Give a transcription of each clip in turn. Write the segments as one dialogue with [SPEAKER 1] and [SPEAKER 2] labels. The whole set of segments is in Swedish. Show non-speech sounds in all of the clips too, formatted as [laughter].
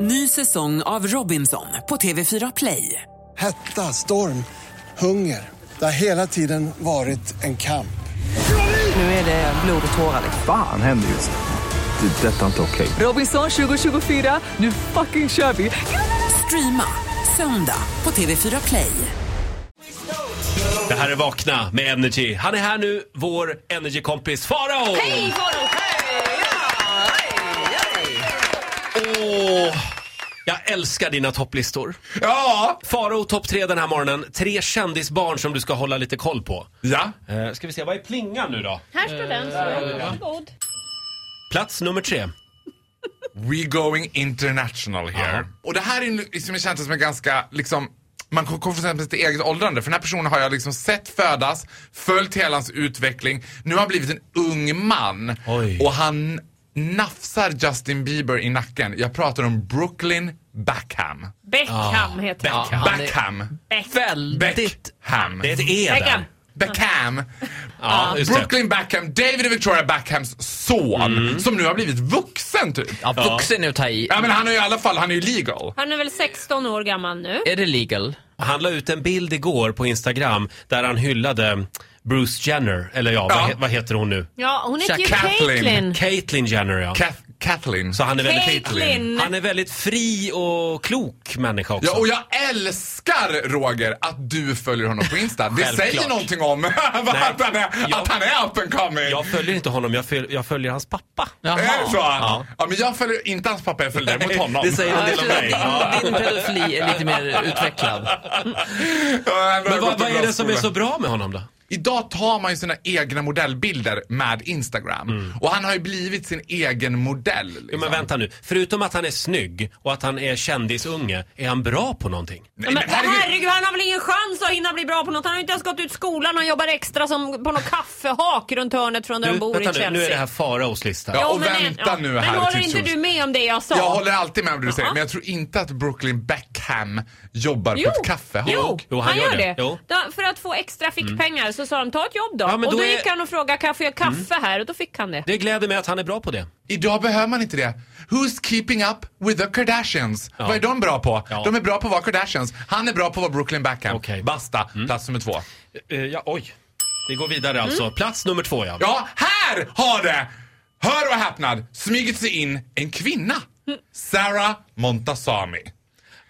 [SPEAKER 1] Ny säsong av Robinson på TV4 Play.
[SPEAKER 2] Hetta, storm, hunger. Det har hela tiden varit en kamp.
[SPEAKER 1] Nu är det Eh, blod och tårar.
[SPEAKER 3] Fan händer just nu. Det. är Detta är inte okej.
[SPEAKER 1] Robinson 2024, nu fucking kör vi! Streama söndag på TV4 Play.
[SPEAKER 4] Det här är Vakna med Energy. Han är här nu, vår Energy-kompis Farao!
[SPEAKER 5] Hej Farao!
[SPEAKER 4] Åh, jag älskar dina topplistor.
[SPEAKER 6] Ja!
[SPEAKER 4] Farao topp tre den här morgonen. Tre kändisbarn som du ska hålla lite koll på.
[SPEAKER 6] Ja.
[SPEAKER 4] Eh, ska vi se, vad är plingan nu då?
[SPEAKER 5] Här står den. Varsågod.
[SPEAKER 4] Plats nummer tre.
[SPEAKER 6] We going international here.
[SPEAKER 4] Ja.
[SPEAKER 6] Och det här är nu- som jag känns som en ganska, liksom, man kom- kommer från sitt eget åldrande. För den här personen har jag liksom sett födas, följt hela hans utveckling. Nu har han blivit en ung man.
[SPEAKER 4] Oj.
[SPEAKER 6] Och han nafsar Justin Bieber i nacken. Jag pratar om Brooklyn Backham.
[SPEAKER 5] Beckham heter han.
[SPEAKER 4] Beckham.
[SPEAKER 7] han är-
[SPEAKER 6] Backham.
[SPEAKER 7] Väldigt...
[SPEAKER 6] Backham.
[SPEAKER 4] Det är ett E där.
[SPEAKER 5] Beckham.
[SPEAKER 6] Beckham.
[SPEAKER 4] Ja, just det. Mm.
[SPEAKER 6] Brooklyn Backham, David och Victoria Backhams son. Som nu har blivit vuxen typ.
[SPEAKER 7] Ja, vuxen nu ta i.
[SPEAKER 6] Ja men han är ju i alla fall, han är ju legal.
[SPEAKER 5] Han är väl 16 år gammal nu.
[SPEAKER 7] Är det legal?
[SPEAKER 4] Han la ut en bild igår på Instagram där han hyllade Bruce Jenner. Eller ja,
[SPEAKER 6] Ja.
[SPEAKER 4] Vad, he- vad heter hon nu?
[SPEAKER 5] Ja, hon heter ju
[SPEAKER 6] Kathleen.
[SPEAKER 5] Caitlyn.
[SPEAKER 4] Caitlyn Jenner ja.
[SPEAKER 6] Kath- Kathleen.
[SPEAKER 4] Så han är väldigt,
[SPEAKER 5] Caitlyn.
[SPEAKER 4] han är väldigt fri och klok människa också.
[SPEAKER 6] Ja, och jag älskar Roger att du följer honom på Insta. Det
[SPEAKER 4] Självklart.
[SPEAKER 6] säger någonting om [laughs] att, han är,
[SPEAKER 4] Jag-
[SPEAKER 6] att han är up and coming.
[SPEAKER 4] Jag följer inte honom, jag följer, jag följer hans pappa.
[SPEAKER 6] är det så?
[SPEAKER 4] Ja.
[SPEAKER 6] Ja. men jag följer inte hans pappa, jag följer däremot honom.
[SPEAKER 4] Det
[SPEAKER 6] [laughs]
[SPEAKER 4] säger en del om dig.
[SPEAKER 7] Ja, din pedofili är lite mer utvecklad.
[SPEAKER 4] Men vad, vad är det som är så bra med honom då?
[SPEAKER 6] Idag tar man ju sina egna modellbilder med Instagram. Och han har ju blivit sin egen modell. Liksom.
[SPEAKER 4] Jo, Mm. men vänta nu. Förutom att han är snygg och att han är kändisunge, är han bra på någonting?
[SPEAKER 6] Nej,
[SPEAKER 5] Men
[SPEAKER 6] men [laughs] herregud.
[SPEAKER 5] herregud, han har väl ingen chans att hinna bli bra på något. Han har ju inte ens gått ut skolan. Han jobbar extra som på något kaffehak runt hörnet från där
[SPEAKER 4] Du,
[SPEAKER 5] han bor i
[SPEAKER 4] vänta
[SPEAKER 5] Chelsea.
[SPEAKER 4] nu, nu är det här Faraos lista.
[SPEAKER 6] Ja.
[SPEAKER 5] Jo,
[SPEAKER 6] och
[SPEAKER 5] men-
[SPEAKER 6] vänta nu
[SPEAKER 5] men
[SPEAKER 6] här
[SPEAKER 5] håller
[SPEAKER 6] tills
[SPEAKER 5] inte
[SPEAKER 6] hon-
[SPEAKER 5] du med om det jag sa?
[SPEAKER 6] Jag håller alltid med om det du säger,
[SPEAKER 5] Ja.
[SPEAKER 6] men jag tror inte att Brooklyn Beckham jobbar på ett kaffehak.
[SPEAKER 5] Jo,
[SPEAKER 4] Jo,
[SPEAKER 5] han, gör det.
[SPEAKER 4] Jo.
[SPEAKER 5] Da, för att få extra fickpengar så sa de ta ett jobb då.
[SPEAKER 4] Ja, men
[SPEAKER 5] och
[SPEAKER 4] då
[SPEAKER 5] då,
[SPEAKER 4] är-
[SPEAKER 5] gick han och frågade kan jag få göra kaffe här och då fick han det.
[SPEAKER 4] Det gläder mig att han är bra på det.
[SPEAKER 6] Idag behöver man inte det. Who's keeping up with the Kardashians? Vad är de bra på?
[SPEAKER 4] Ja.
[SPEAKER 6] De är bra på att vara Kardashians. Han är bra på att vara Brooklyn Beckham.
[SPEAKER 4] Okej. Mm.
[SPEAKER 6] Basta, plats nummer två.
[SPEAKER 4] Eh, ja, oj. Vi går vidare alltså. Plats nummer två ja.
[SPEAKER 6] Ja, här har det! Hör och häpnad, smugit sig in en kvinna. Sarah Montazami.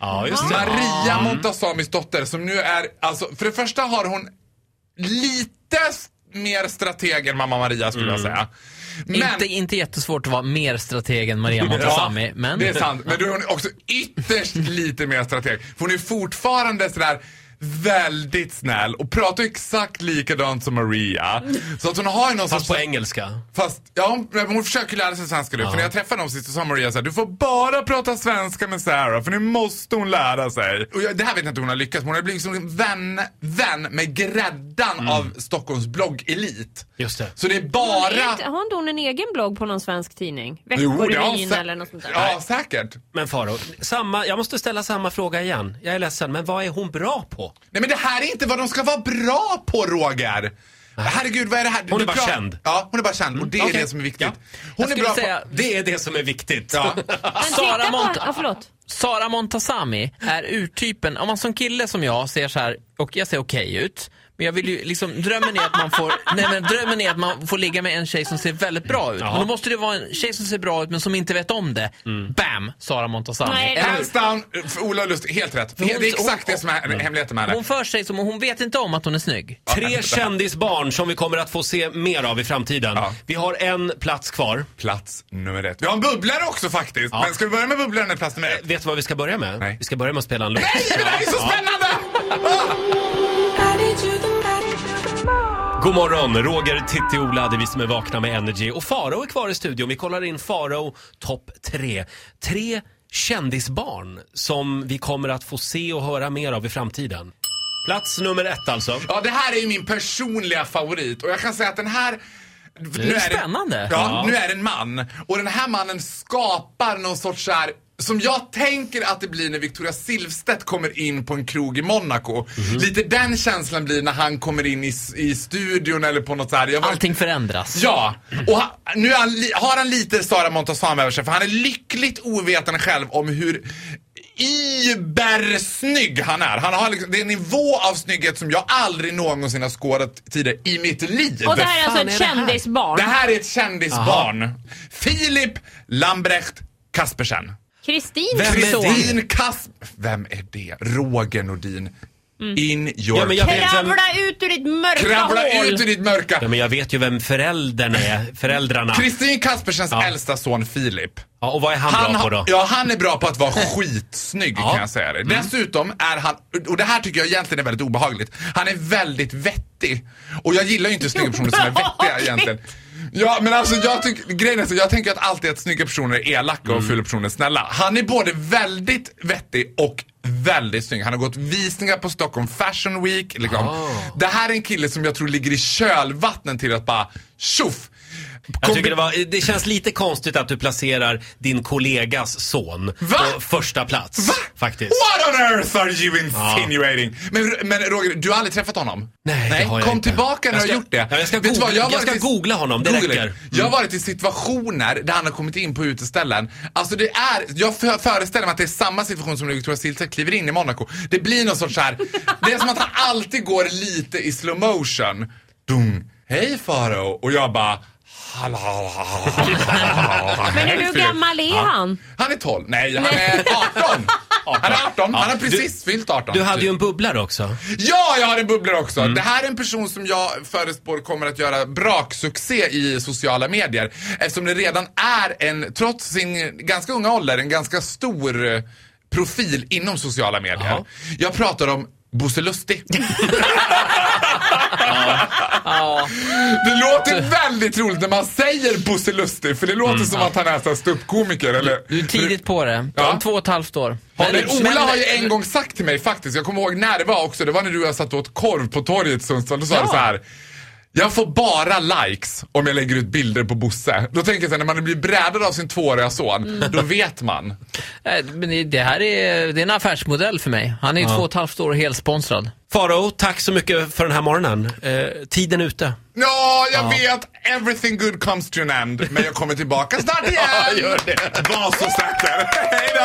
[SPEAKER 4] Ja, just det.
[SPEAKER 6] Maria Montazamis dotter som nu är, alltså för det första har hon lite s- mer strateg än mamma Maria skulle
[SPEAKER 4] Mm.
[SPEAKER 6] jag säga. Men-
[SPEAKER 7] Inte, inte jättesvårt att vara mer strateg än Maria Montazami,
[SPEAKER 6] Ja,
[SPEAKER 7] men...
[SPEAKER 6] Det är sant. Men du är hon också
[SPEAKER 4] [laughs]
[SPEAKER 6] ytterst lite mer strateg. För hon är fortfarande sådär väldigt snäll och pratar exakt likadant som Maria. Så att hon har ju någon
[SPEAKER 4] Fast på
[SPEAKER 6] sorts...
[SPEAKER 4] engelska.
[SPEAKER 6] Fast, ja, hon, men hon försöker lära sig svenska nu. För när jag träffade dem sist så sa Maria så här, du får bara prata svenska med Sarah för nu måste hon lära sig. Och jag, det här vet jag inte hur hon har lyckats med. Hon har blivit liksom vän, vän med gräddan av Stockholms bloggelit.
[SPEAKER 4] Mm. Just det.
[SPEAKER 6] Så det är
[SPEAKER 5] Hon
[SPEAKER 6] bara...
[SPEAKER 5] är inte- Har inte hon en egen blogg på någon svensk tidning?
[SPEAKER 6] Jo, det har hon
[SPEAKER 5] Veckorevyn
[SPEAKER 6] sä-
[SPEAKER 5] eller något sånt där.
[SPEAKER 6] Ja, säkert.
[SPEAKER 4] Men Faro, samma, jag måste ställa samma fråga igen. Jag är ledsen, men vad är hon bra på?
[SPEAKER 6] Nej men det här är inte vad de ska vara bra på Roger! Herregud vad är det här?
[SPEAKER 4] Hon är
[SPEAKER 6] Du
[SPEAKER 4] bara
[SPEAKER 6] pratar-
[SPEAKER 4] känd.
[SPEAKER 6] Ja, hon är bara känd och det är
[SPEAKER 4] okej.
[SPEAKER 6] det som är viktigt.
[SPEAKER 4] Ja.
[SPEAKER 6] Hon är
[SPEAKER 7] skulle
[SPEAKER 6] bra
[SPEAKER 7] säga-
[SPEAKER 4] Det är det som är viktigt.
[SPEAKER 6] på... Ja.
[SPEAKER 5] Men
[SPEAKER 7] Sara
[SPEAKER 5] titta på...
[SPEAKER 7] Mont-
[SPEAKER 5] Ja, förlåt.
[SPEAKER 7] Sara Montazami är urtypen, om man som kille som jag ser så här, och jag ser okej ut, men jag vill ju liksom, drömmen är att man får,
[SPEAKER 6] [laughs]
[SPEAKER 7] nej men drömmen är att man får ligga med en tjej som ser väldigt bra ut.
[SPEAKER 4] Ja.
[SPEAKER 7] Men då måste det vara en tjej som ser bra ut men som inte vet om det.
[SPEAKER 6] Mm.
[SPEAKER 7] Bam! Sara Montazami.
[SPEAKER 5] Nej,
[SPEAKER 7] Eller-
[SPEAKER 6] [laughs] Hands down, för Ola Lust, helt rätt. Det
[SPEAKER 7] hon-
[SPEAKER 6] är exakt det som är hemligheten med henne.
[SPEAKER 7] Hon för sig som, hon vet inte om att hon är snygg.
[SPEAKER 4] Tre kändisbarn som vi kommer att få se mer av i framtiden.
[SPEAKER 6] Ja.
[SPEAKER 4] Vi har en plats kvar.
[SPEAKER 6] Plats nummer ett. Vi har en bubblare också faktiskt. Men ska vi börja med bubblan eller plats nummer ett?
[SPEAKER 4] Vet du vad vi ska börja med?
[SPEAKER 6] Nej.
[SPEAKER 4] Vi ska börja med att spela en låt.
[SPEAKER 6] Nej, [laughs] det där är så spännande!
[SPEAKER 4] [laughs] God morgon, Roger, Titti, Ola, det är vi som är vakna med Energy. Och Farao är kvar i studion. Vi kollar in Farao topp tre. Tre kändisbarn som vi kommer att få se och höra mer av i framtiden. Plats nummer ett alltså.
[SPEAKER 6] Ja, det här är ju min personliga favorit och jag kan säga att den här nu
[SPEAKER 7] spännande.
[SPEAKER 6] Ja, nu är det en man. Och den här mannen skapar någon sorts så här som jag tänker att det blir när Victoria Silvstedt kommer in på en krog i Monaco.
[SPEAKER 7] Mhm.
[SPEAKER 6] Lite den känslan blir när han kommer in i, s- i studion eller på något så här. Jag var-
[SPEAKER 7] Allting förändras.
[SPEAKER 6] Ja, och ha, nu är han, li- har han lite Sara Montazami över sig för han är lyckligt ovetande själv om hur ibersnygg han är. Han har liksom, det är en nivå av snygghet som jag aldrig någonsin har skådat tidigare i mitt liv.
[SPEAKER 5] Och det här är alltså
[SPEAKER 1] fan
[SPEAKER 5] ett
[SPEAKER 1] är det här?
[SPEAKER 5] kändisbarn.
[SPEAKER 6] Det här är ett kändisbarn. Filip Lambrecht Kaspersen.
[SPEAKER 5] Kristin
[SPEAKER 4] Vem är
[SPEAKER 5] son.
[SPEAKER 4] det?
[SPEAKER 6] Din Kas... Vem är det? Roger Nordin. In your...
[SPEAKER 4] Ja, men jag vet vem,
[SPEAKER 5] Kravla ut ur ditt mörka
[SPEAKER 6] Kravla
[SPEAKER 5] hål.
[SPEAKER 6] ut ur ditt mörka.
[SPEAKER 4] ja, men jag vet ju vem föräldern är, föräldrarna.
[SPEAKER 6] Kristin Kaspersens äldsta son Filip.
[SPEAKER 4] Ja, och vad är han, bra på
[SPEAKER 6] har-
[SPEAKER 4] då? Mm.
[SPEAKER 6] Ja, han är bra på
[SPEAKER 4] [laughs]
[SPEAKER 6] att vara skitsnygg
[SPEAKER 4] Ja.
[SPEAKER 6] kan jag säga det. Dessutom är han, och det här tycker jag egentligen är väldigt obehagligt, han är väldigt vettig. Och jag gillar ju inte snygga personer som är vettiga
[SPEAKER 4] [laughs]
[SPEAKER 5] Obehagligt.
[SPEAKER 6] egentligen. Ja, men alltså jag tycker, grejen är så, jag tänker att alltid att snygga personer är elaka
[SPEAKER 4] Mm.
[SPEAKER 6] och fula personer är snälla. Han är både väldigt vettig och väldigt snygg. Han har gått visningar på Stockholm Fashion Week. Liksom.
[SPEAKER 4] Ah.
[SPEAKER 6] Det här är en kille som jag tror ligger i kölvattnen till att bara tjoff!
[SPEAKER 4] Jag
[SPEAKER 6] Kombi-
[SPEAKER 4] tycker det, var, det känns lite konstigt att du placerar din kollegas son
[SPEAKER 6] Va?
[SPEAKER 4] på första plats.
[SPEAKER 6] Va?
[SPEAKER 4] Faktiskt.
[SPEAKER 6] What on earth are you insinuating? Men, men Roger, du har aldrig träffat honom?
[SPEAKER 4] Nej, det har jag
[SPEAKER 6] Kom
[SPEAKER 4] inte.
[SPEAKER 6] tillbaka när
[SPEAKER 4] Jag
[SPEAKER 6] du
[SPEAKER 4] ska-
[SPEAKER 6] har gjort det.
[SPEAKER 4] Ja, jag ska
[SPEAKER 6] du
[SPEAKER 4] googla- jag
[SPEAKER 6] varit
[SPEAKER 4] ska
[SPEAKER 6] i-
[SPEAKER 4] googla honom, det räcker. Mm.
[SPEAKER 6] Jag har varit i situationer där han har kommit in på uteställen. Alltså det är, jag för, föreställer mig att det är samma situation som när Victoria Silvstedt kliver in i Monaco. Det blir någon sorts så här. [laughs] det är som att han alltid går lite i slow motion. Dung. Hej Faro Och jag bara, [laughs] hallå.
[SPEAKER 5] Men hur gammal är han?
[SPEAKER 6] Han är 12. Nej, han är 18. Han är 18. Han har precis fyllt 18.
[SPEAKER 4] Du hade ju en bubblare också.
[SPEAKER 6] Ja, jag har en bubblare också. Det här är en person som jag förespår kommer att göra braksuccé i sociala medier. Eftersom det redan är en, trots sin ganska unga ålder, en ganska stor eh, profil inom sociala medier.
[SPEAKER 4] Jaha.
[SPEAKER 6] Jag pratar om Bosse Lustig. Det låter väldigt roligt när man säger Bosse Lustig för det låter som att han är så här ståuppkomiker eller...
[SPEAKER 7] Du är tidigt på det.
[SPEAKER 6] Ja.
[SPEAKER 7] Om två och ett halvt år.
[SPEAKER 6] Ja, men Ola har ju en gång sagt till mig faktiskt, jag kommer ihåg när det var också, det var när du och jag satt och åt korv på torget i Sundsvall, då sa du så här. Jag får bara likes om jag lägger ut bilder på Bosse. Då tänker jag så här, när man blir brädad av sin tvååriga son, då vet man.
[SPEAKER 7] Nej, Men det- det här är, det är en affärsmodell för mig. Han är ju två och ett halvt år helsponsrad.
[SPEAKER 4] Faro, tack så mycket för den här morgonen. Eh, tiden är ute.
[SPEAKER 6] Ja, jag vet, everything good comes to an end, men jag kommer tillbaka [laughs] snart igen.
[SPEAKER 4] Ja, gör
[SPEAKER 6] det. Var så säker. [laughs] Hej då!